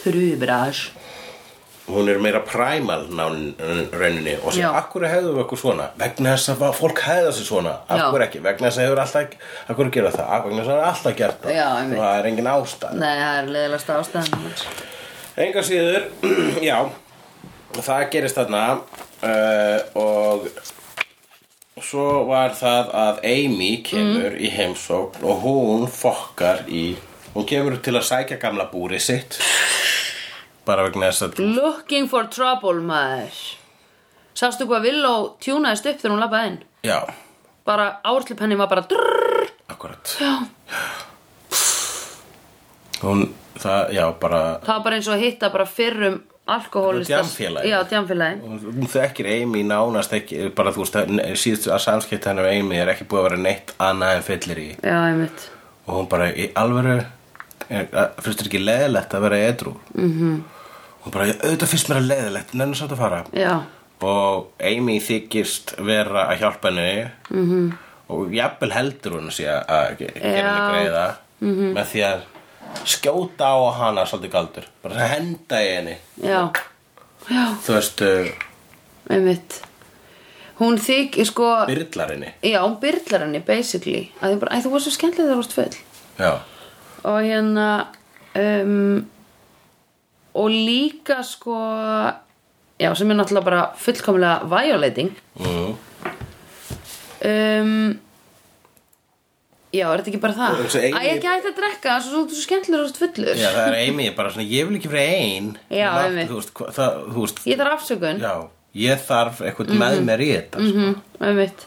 Speaker 1: Trubrage
Speaker 2: Hún er meira primal nán n- rauninni og sér,
Speaker 1: Já.
Speaker 2: akkur hefðum við okkur svona? Vegna þess að fa- fólk hefða sig svona,
Speaker 1: Já.
Speaker 2: akkur ekki, vegna þess að hefur alltaf, akkur gera það, Af- vegna þess að það er alltaf gert það.
Speaker 1: Já, einmitt.
Speaker 2: Það er engin ástæð.
Speaker 1: Nei, það er leðilegast ástæðan
Speaker 2: Enga síður, [CLEARS THROAT] já, það gerist þarna uh, og svo var það að Amy kemur í heimsókn og hún fokkar í, hún kemur til að sækja gamla búrið sitt bara vegna þess að
Speaker 1: Looking for trouble, maður Sástu hvað Villó tjúnaðist upp þegar hún labbaði inn
Speaker 2: Já,
Speaker 1: Bara árslup henni var bara drrrr,
Speaker 2: akkurat Já Hún, það, já, bara
Speaker 1: Það var bara eins og að hitta bara fyrrum alkohólista
Speaker 2: Djamfélagi.
Speaker 1: Já, djamfélagi
Speaker 2: Hún þekkir Amy nánast ekki bara þú veist, síðust að samskipta hennar við Amy er ekki búið að vera neitt annað en fyllir í
Speaker 1: Já, einmitt
Speaker 2: og hún bara í alvöru er, að- finnst þér ekki leðilegt að vera edrú mm
Speaker 1: Mhm.
Speaker 2: -hmm. hún bara, auðvitað finnst mér að leðilegt nenni sátt að fara
Speaker 1: Já,
Speaker 2: og Amy þykist vera að hjálpa henni -hmm. og jafnvel heldur hún sé að ge- gera
Speaker 1: Mhm.
Speaker 2: henni
Speaker 1: Já. Mhm.
Speaker 2: greiða -hmm. með því að skjóta á hana svolítið galdur bara henda í henni
Speaker 1: já, já,
Speaker 2: þú veist, uh,
Speaker 1: einmitt Hún þyk, sko
Speaker 2: byrlar henni
Speaker 1: Já, hún byrlar henni, basically að því bara, æ, þú varst svo skemmtilega þegar þú varst full
Speaker 2: já,
Speaker 1: og hérna um, og líka sko já, sem er náttúrulega bara fullkomlega violating
Speaker 2: mm.
Speaker 1: um, já, er þetta ekki bara það?
Speaker 2: Og þessi eini-
Speaker 1: Æ, ekki hægt að drekka, svo, svo, svo skemmtilega þú ert fullur
Speaker 2: já það er Amy bara svona, ég vil ekki vera ein
Speaker 1: Já,
Speaker 2: Hún var-
Speaker 1: einmitt.
Speaker 2: þú veist, hva- það, þú veist
Speaker 1: ég þarf afsökun
Speaker 2: já, ég þarf eitthvað með mér í þetta mm
Speaker 1: mm, einmitt.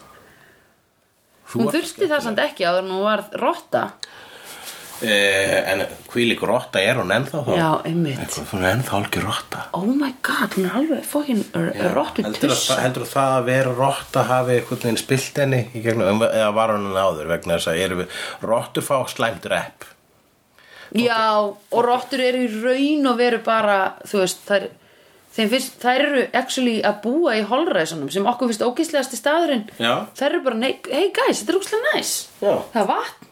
Speaker 2: Þú
Speaker 1: hún
Speaker 2: ert
Speaker 1: þurfti það samt ekki áður en hún var rotta
Speaker 2: Eh, en hvílík rotta er hún ennþá þá?
Speaker 1: já, einmitt
Speaker 2: Eitthvað, Hún er ennþá algjör rotta.
Speaker 1: oh my god, hún er alveg fokkin rottu
Speaker 2: Heldur
Speaker 1: tuss
Speaker 2: það, heldur það að vera rotta hafi einhvern veginn spilt henni í gegnum, um- eða var hún henni áður vegna þess að erum við rottu fá
Speaker 1: [LAUGHS]
Speaker 2: slæmt rep.
Speaker 1: Já, og rottur eru í raun og veru bara, þú veist, þær, þeim finnst, þær eru actually að búa í holræsunum sem okkur finnst ógíslegasti staðurinn.
Speaker 2: Já.
Speaker 1: Þær eru bara, nei- hey guys, þetta er ógíslega næs.
Speaker 2: Já.
Speaker 1: Það er vatn,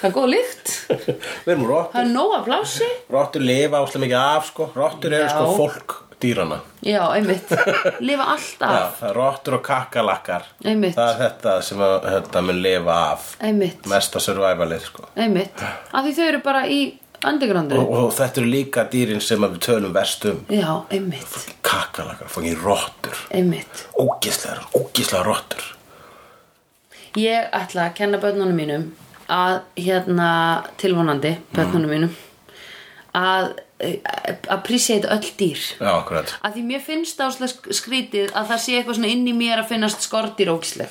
Speaker 1: það er góð lykt,
Speaker 2: við erum rottur,
Speaker 1: það er nóg af plási.
Speaker 2: rottur lifa áslega mikið af sko, rottur eru
Speaker 1: Já.
Speaker 2: sko fólk dýrana.
Speaker 1: Já, einmitt, lifa allt
Speaker 2: Já,
Speaker 1: af,
Speaker 2: það er rottur og kakalakkar.
Speaker 1: Ah. Einmitt.
Speaker 2: Það er þetta sem að, þetta mun lifa af.
Speaker 1: einmitt,
Speaker 2: Mesta survivalið sko.
Speaker 1: einmitt, af því þau eru bara í
Speaker 2: Og,
Speaker 1: undergroundinu.
Speaker 2: og þetta eru líka dýrin sem að við tölum vestum.
Speaker 1: Já, einmitt,
Speaker 2: Kakalakkar, fangir rottur.
Speaker 1: einmitt.
Speaker 2: ógislegar, ógislegar rottur
Speaker 1: Ég ætla að kenna börnunum mínum að hérna tilvonandi börnunum mínum að eh, appreciate öll dýr
Speaker 2: Já, akkurat
Speaker 1: að því mér finnst áslega skrítið að það sé eitthvað svona inn í mér að finnast skortir ógisleg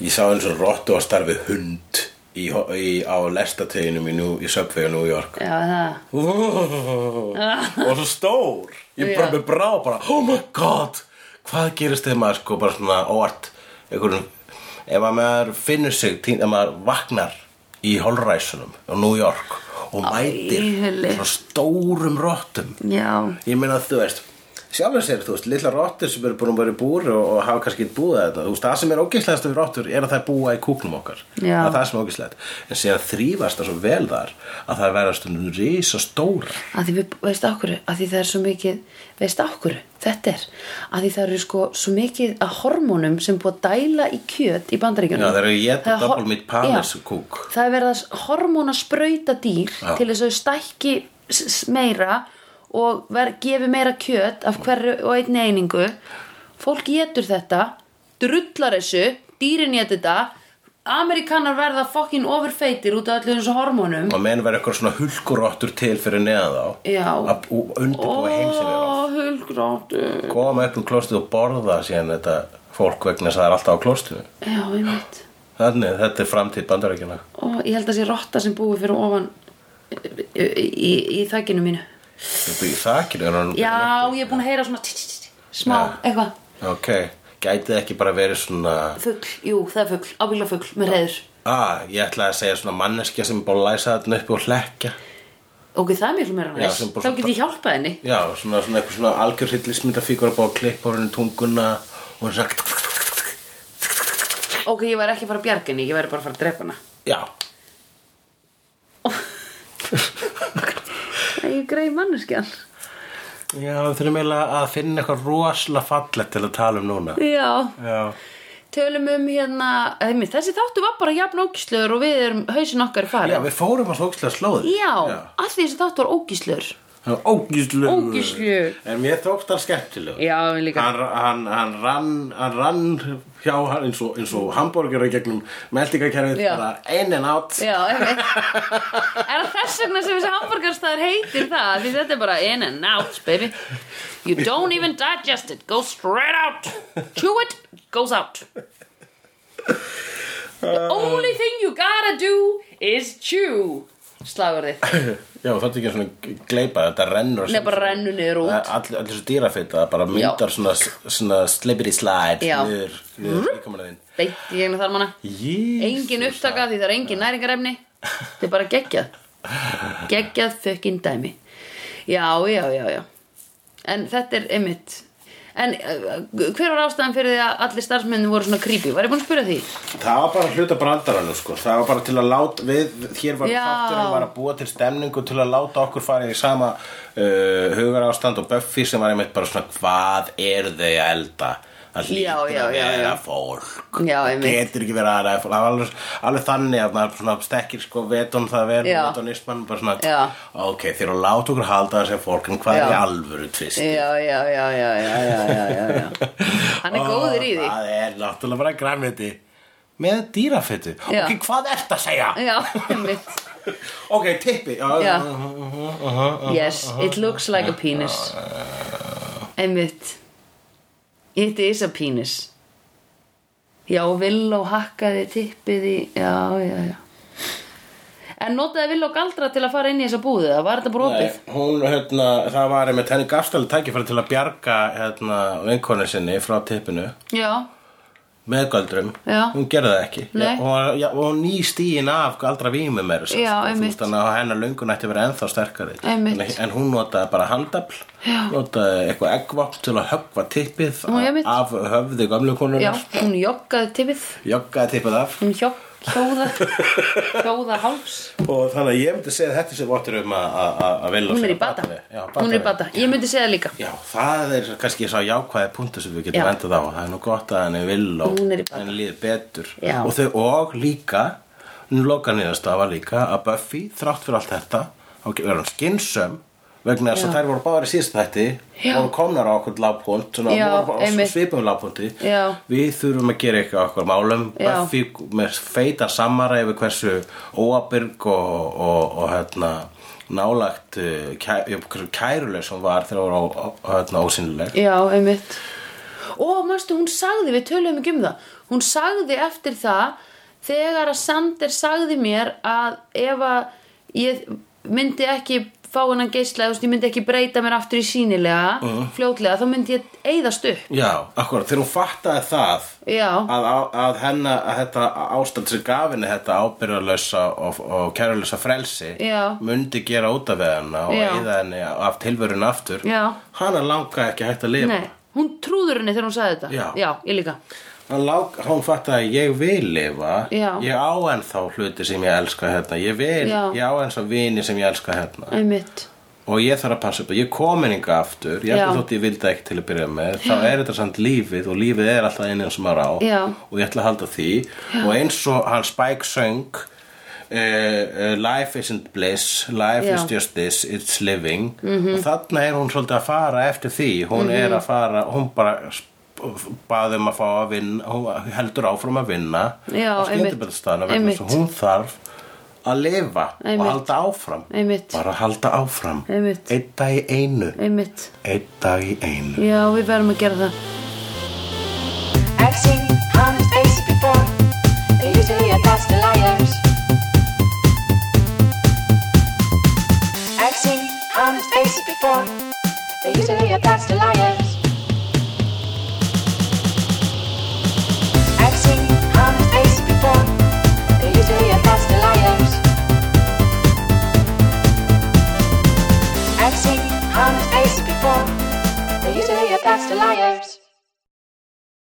Speaker 2: Ég sá eins og rottu að starfi hund í, í, á lestateginu mínu í Subway á New York
Speaker 1: Já, það
Speaker 2: og svo stór ég
Speaker 1: Já.
Speaker 2: bara með brá bara, oh my god hvað gerist þegar maður sko bara svona óvart einhverjum ef að maður finnur sig, tín- ef maður vaknar í holræsunum á New York og mætir
Speaker 1: hulli.
Speaker 2: svona stórum rottum
Speaker 1: Já,
Speaker 2: Ég meina að þú veist Sjálfur sér, þú veist, litla rottur sem eru búin að vera í búr og, og hafa kannski ekki búið þetta Þú veist, það sem er ógeislegast við rottur er að það búa í kúknum okkar
Speaker 1: Já.
Speaker 2: Það er það sem er ógeislegast En síðan þrýfast það svo vel þar að það verðast um risa stóra
Speaker 1: að því við, veist okkur, að því það er svo mikið veist okkur, þetta er að því það eru sko svo mikið að hormónum sem er búið að dæla í kjöt í bandaríkjunum
Speaker 2: Já, það eru að éta
Speaker 1: Það er hor-
Speaker 2: double meat palace
Speaker 1: Já.
Speaker 2: kúk.
Speaker 1: það er verið að hormóna sprauta dýr
Speaker 2: Já.
Speaker 1: til þess að þau stækki s- s- meira og ver, gefi meira kjöt af hverju og einn einingu fólk getur þetta drullar þessu, dýrin getur þetta Amerikanar verða fokkin overfeitir út af allir þessu hormónum
Speaker 2: Og menn verður eitthvað svona hulkurottur til fyrir neðan þá
Speaker 1: Já.
Speaker 2: Að bú- undirbúa heimsinn
Speaker 1: Ó, hulgráttu
Speaker 2: Koma upp um klostið og borða síðan þetta fólk vegna þess að það er alltaf á klostinu
Speaker 1: Já, einmitt
Speaker 2: Þannig, þetta er framtíð bandarækjana
Speaker 1: Og ég held að sé rotta sem búið fyrir ofan í, í, í þakkinu mínu
Speaker 2: Þetta er í þakinu er hann-
Speaker 1: Já, ég er búin að heyra svona tí, tí, tí, smá, eitthvað
Speaker 2: Ok, gætið ekki bara verið svona
Speaker 1: Fugl, jú, það er fugl, ábyggilega fugl með reyður
Speaker 2: ah, ég ætlaði að segja svona manneskja sem er búin að læsa þarna upp og hlekja
Speaker 1: Ok, það er miklu meira
Speaker 2: Já,
Speaker 1: næst
Speaker 2: sem bara
Speaker 1: Þá
Speaker 2: svona-
Speaker 1: get ég hjálpað henni
Speaker 2: Já, svona, svona eitthvað svona algjör hryllismyndafíkur að búa að klippa á henni tunguna og hún sagt
Speaker 1: Ok, ég væri ekki að fara að bjarga henni, ég væri bara að fara að drepa hana
Speaker 2: Já,
Speaker 1: Það er greið manneskjan
Speaker 2: já við þurfum eiginlega að finna eitthvað rosalega fallegt til að tala um núna
Speaker 1: Já,
Speaker 2: Já,
Speaker 1: tölum um hérna einmitt, Þessi þáttu var bara jafn ógislur og við erum hausin okkar er
Speaker 2: já
Speaker 1: farin
Speaker 2: við fórum að slókslega slóði
Speaker 1: Já, allt því þessi þáttu var ógislur
Speaker 2: Það var Ógíslegur
Speaker 1: Ógeðslegur.
Speaker 2: En mér þótt hann skemmtilegur
Speaker 1: Já, mér líka.
Speaker 2: Hann, hann, hann, rann, hann rann hjá hann eins og, eins og hambúrgjur í gegnum meldingakerfið
Speaker 1: Já.
Speaker 2: bara ein en átt
Speaker 1: Já, einmitt Er það þess vegna sem þessi hamburgarstaðar heitir það Því þetta er bara in and out, baby You don't even digest it, goes straight out Chew it, goes out
Speaker 3: The only thing you gotta do is chew
Speaker 1: Slagurðið
Speaker 2: Já, þetta er ekki svona gleipa, þetta rennur
Speaker 1: Nei, bara rennur niður út.
Speaker 2: Allir all, all þessu dýrafita, bara myndar svona, svona slippery slide
Speaker 1: Já.
Speaker 2: Niður, niður líkamanaðinn
Speaker 1: Beitt í gegnum þarmanna
Speaker 2: Jísus
Speaker 1: Engin upptaka því það er engin næringarefni Þetta er bara geggjað Geggjað fucking dæmi Já, já, já, já En þetta er einmitt En uh, hver var ástæðan fyrir því að allir starfsmennin voru svona creepy? Var ég búin að spyrja því?
Speaker 2: Það var bara hluta brandarannu sko Það var bara til að láta við Hér var
Speaker 1: Já.
Speaker 2: þátturinn var að búa til stemningu Til að láta okkur fara í sama uh, Hugarástand og Buffy Sem var einmitt bara svona Hvað eru þau að elda? Það
Speaker 1: Já,
Speaker 2: hlýtur
Speaker 1: já,
Speaker 2: að
Speaker 1: já,
Speaker 2: vera
Speaker 1: já.
Speaker 2: fólk
Speaker 1: Já, einmitt
Speaker 2: Getur ekki verið aðra Það var alveg, alveg þannig að maður svona stekkir sko Vetun það verið
Speaker 1: Já.
Speaker 2: Vetunisman bara svona
Speaker 1: Já.
Speaker 2: Ok, þeir eru að láta okkur halda þessi fólk En hvað
Speaker 1: Já.
Speaker 2: er í alvöru tvist?
Speaker 1: Já, já, já, já, já, já, já, já, já Hann
Speaker 2: [LAUGHS]
Speaker 1: er
Speaker 2: Ó,
Speaker 1: góður í því
Speaker 2: Það er náttúrulega bara grænmeti Með dýrafittu
Speaker 1: Já.
Speaker 2: Ok, hvað ertu að segja?
Speaker 1: Já, einmitt
Speaker 2: Ok, tippi Já,
Speaker 1: Já.
Speaker 2: uh, uh, uh, uh, uh.
Speaker 1: Yes, it looks like a penis Uh, Einmitt It is a penis Já, Villó hakkaði tippið í Já, já, já En notaði Villó galdra til að fara inn í þessa búðu Það var þetta
Speaker 2: Nei,
Speaker 1: brotið
Speaker 2: hún, hérna, það var einmitt henni gafstæli tækifæri til að bjarga hérna, vinkonu sinni frá tippinu
Speaker 1: Já,
Speaker 2: með göldrum,
Speaker 1: Já.
Speaker 2: hún gerði það ekki
Speaker 1: Nei.
Speaker 2: Já, hún, var- já, og hún ný stíin af galdra vímum er
Speaker 1: Já, einmitt.
Speaker 2: þannig að hennar löngun ætti að vera ennþá sterkari
Speaker 1: Einmitt.
Speaker 2: en, en hún notaði bara handafl
Speaker 1: Já.
Speaker 2: notaði eitthvað eggvopn til að höggva tippið
Speaker 1: Nú, einmitt.
Speaker 2: af höfði gömlu
Speaker 1: já,
Speaker 2: konunar
Speaker 1: hún joggaði tippið
Speaker 2: joggaði tippið af
Speaker 1: Hún hjó, hljóða [LAUGHS] Hljóða háls
Speaker 2: og þannig að ég myndi segja að þetta sem vottur um að- að að- að vilja
Speaker 1: Hún er í bata
Speaker 2: já,
Speaker 1: Hún er í bata, ég myndi segja það líka
Speaker 2: Já, það er kannski sá jákvæði punktu sem við getum
Speaker 1: Já.
Speaker 2: endað á Það er nú gott að henni vill og
Speaker 1: Hún er í bata.
Speaker 2: henni líður betur
Speaker 1: Já.
Speaker 2: og, þau, og líka, loka niðurstafa líka að Buffy, þrátt fyrir allt þetta þá verður hann skynsöm vegna þess að þær voru báðar í síðast þætti
Speaker 1: Já.
Speaker 2: voru komnar á okkur lágpunkt svona,
Speaker 1: Já,
Speaker 2: voru á
Speaker 1: einmitt.
Speaker 2: svipum lágpunti
Speaker 1: Já.
Speaker 2: við þurfum að gera eitthvað okkur málum
Speaker 1: Já.
Speaker 2: Buffy með feitan samara yfir hversu óabyrg og, og, og hérna nálagt uh, kæ, hversu kæruleg sem hún var þegar hún var ó- ó- hérna, ósynleg
Speaker 1: Já, einmitt Og manstu, hún sagði, við töluðum ekki um það Hún sagði eftir það Þegar að Sander sagði mér að ef að ég myndi ekki fá hennan geisla þú veist, ég myndi ekki breyta mér aftur í sínilega
Speaker 2: Uh-huh.
Speaker 1: fljótlega, þá myndi ég eyðast upp
Speaker 2: Já, akkurat, þegar hún fattaði það
Speaker 1: Já.
Speaker 2: að, á- að henni að þetta ástand sem gaf henni þetta ábyrðarlösa og, og kærulösa frelsi
Speaker 1: Já.
Speaker 2: mundi gera út af henni og
Speaker 1: Já.
Speaker 2: eða henni af tilverun aftur
Speaker 1: Já.
Speaker 2: hana langa ekki hægt að lifa
Speaker 1: Nei, hún trúður henni þegar hún sagði þetta
Speaker 2: Já.
Speaker 1: ég líka
Speaker 2: hann, lák, hann fattaði að ég vil lifa
Speaker 1: Já.
Speaker 2: ég á ennþá hluti sem ég elska hérna ég, vil,
Speaker 1: Já.
Speaker 2: ég á ennþá vini sem ég elska hérna
Speaker 1: Einmitt,
Speaker 2: og ég þarf að passa upp að ég komin inga aftur ég
Speaker 1: Já.
Speaker 2: ætla þótt ég vildi ekki til að byrja með þá er þetta samt lífið og lífið er alltaf einin sem maður á
Speaker 1: Já.
Speaker 2: og ég ætla að halda því og eins og hann Spike söng uh, uh, life isn't bliss life
Speaker 1: Já. Mhm.
Speaker 2: is just this, it's living -hmm. og þarna er hún svolítið að fara eftir því hún er að fara, hún bara baði um að fá að vinna hún heldur áfram að vinna
Speaker 1: Já,
Speaker 2: á
Speaker 1: einmitt.
Speaker 2: skemmtibæðastana vegna þess
Speaker 1: Einmitt.
Speaker 2: að hún þarf að lifa og
Speaker 1: Einmitt.
Speaker 2: halda áfram
Speaker 1: Einmitt.
Speaker 2: bara halda áfram
Speaker 1: Einmitt.
Speaker 2: Einn dag í einu
Speaker 1: einmitt
Speaker 2: Einn dag í einu
Speaker 1: Já, við verðum að gera það
Speaker 4: I've seen honest faces before. They usually are past the liars. I've seen honest faces before. They usually are past the liars.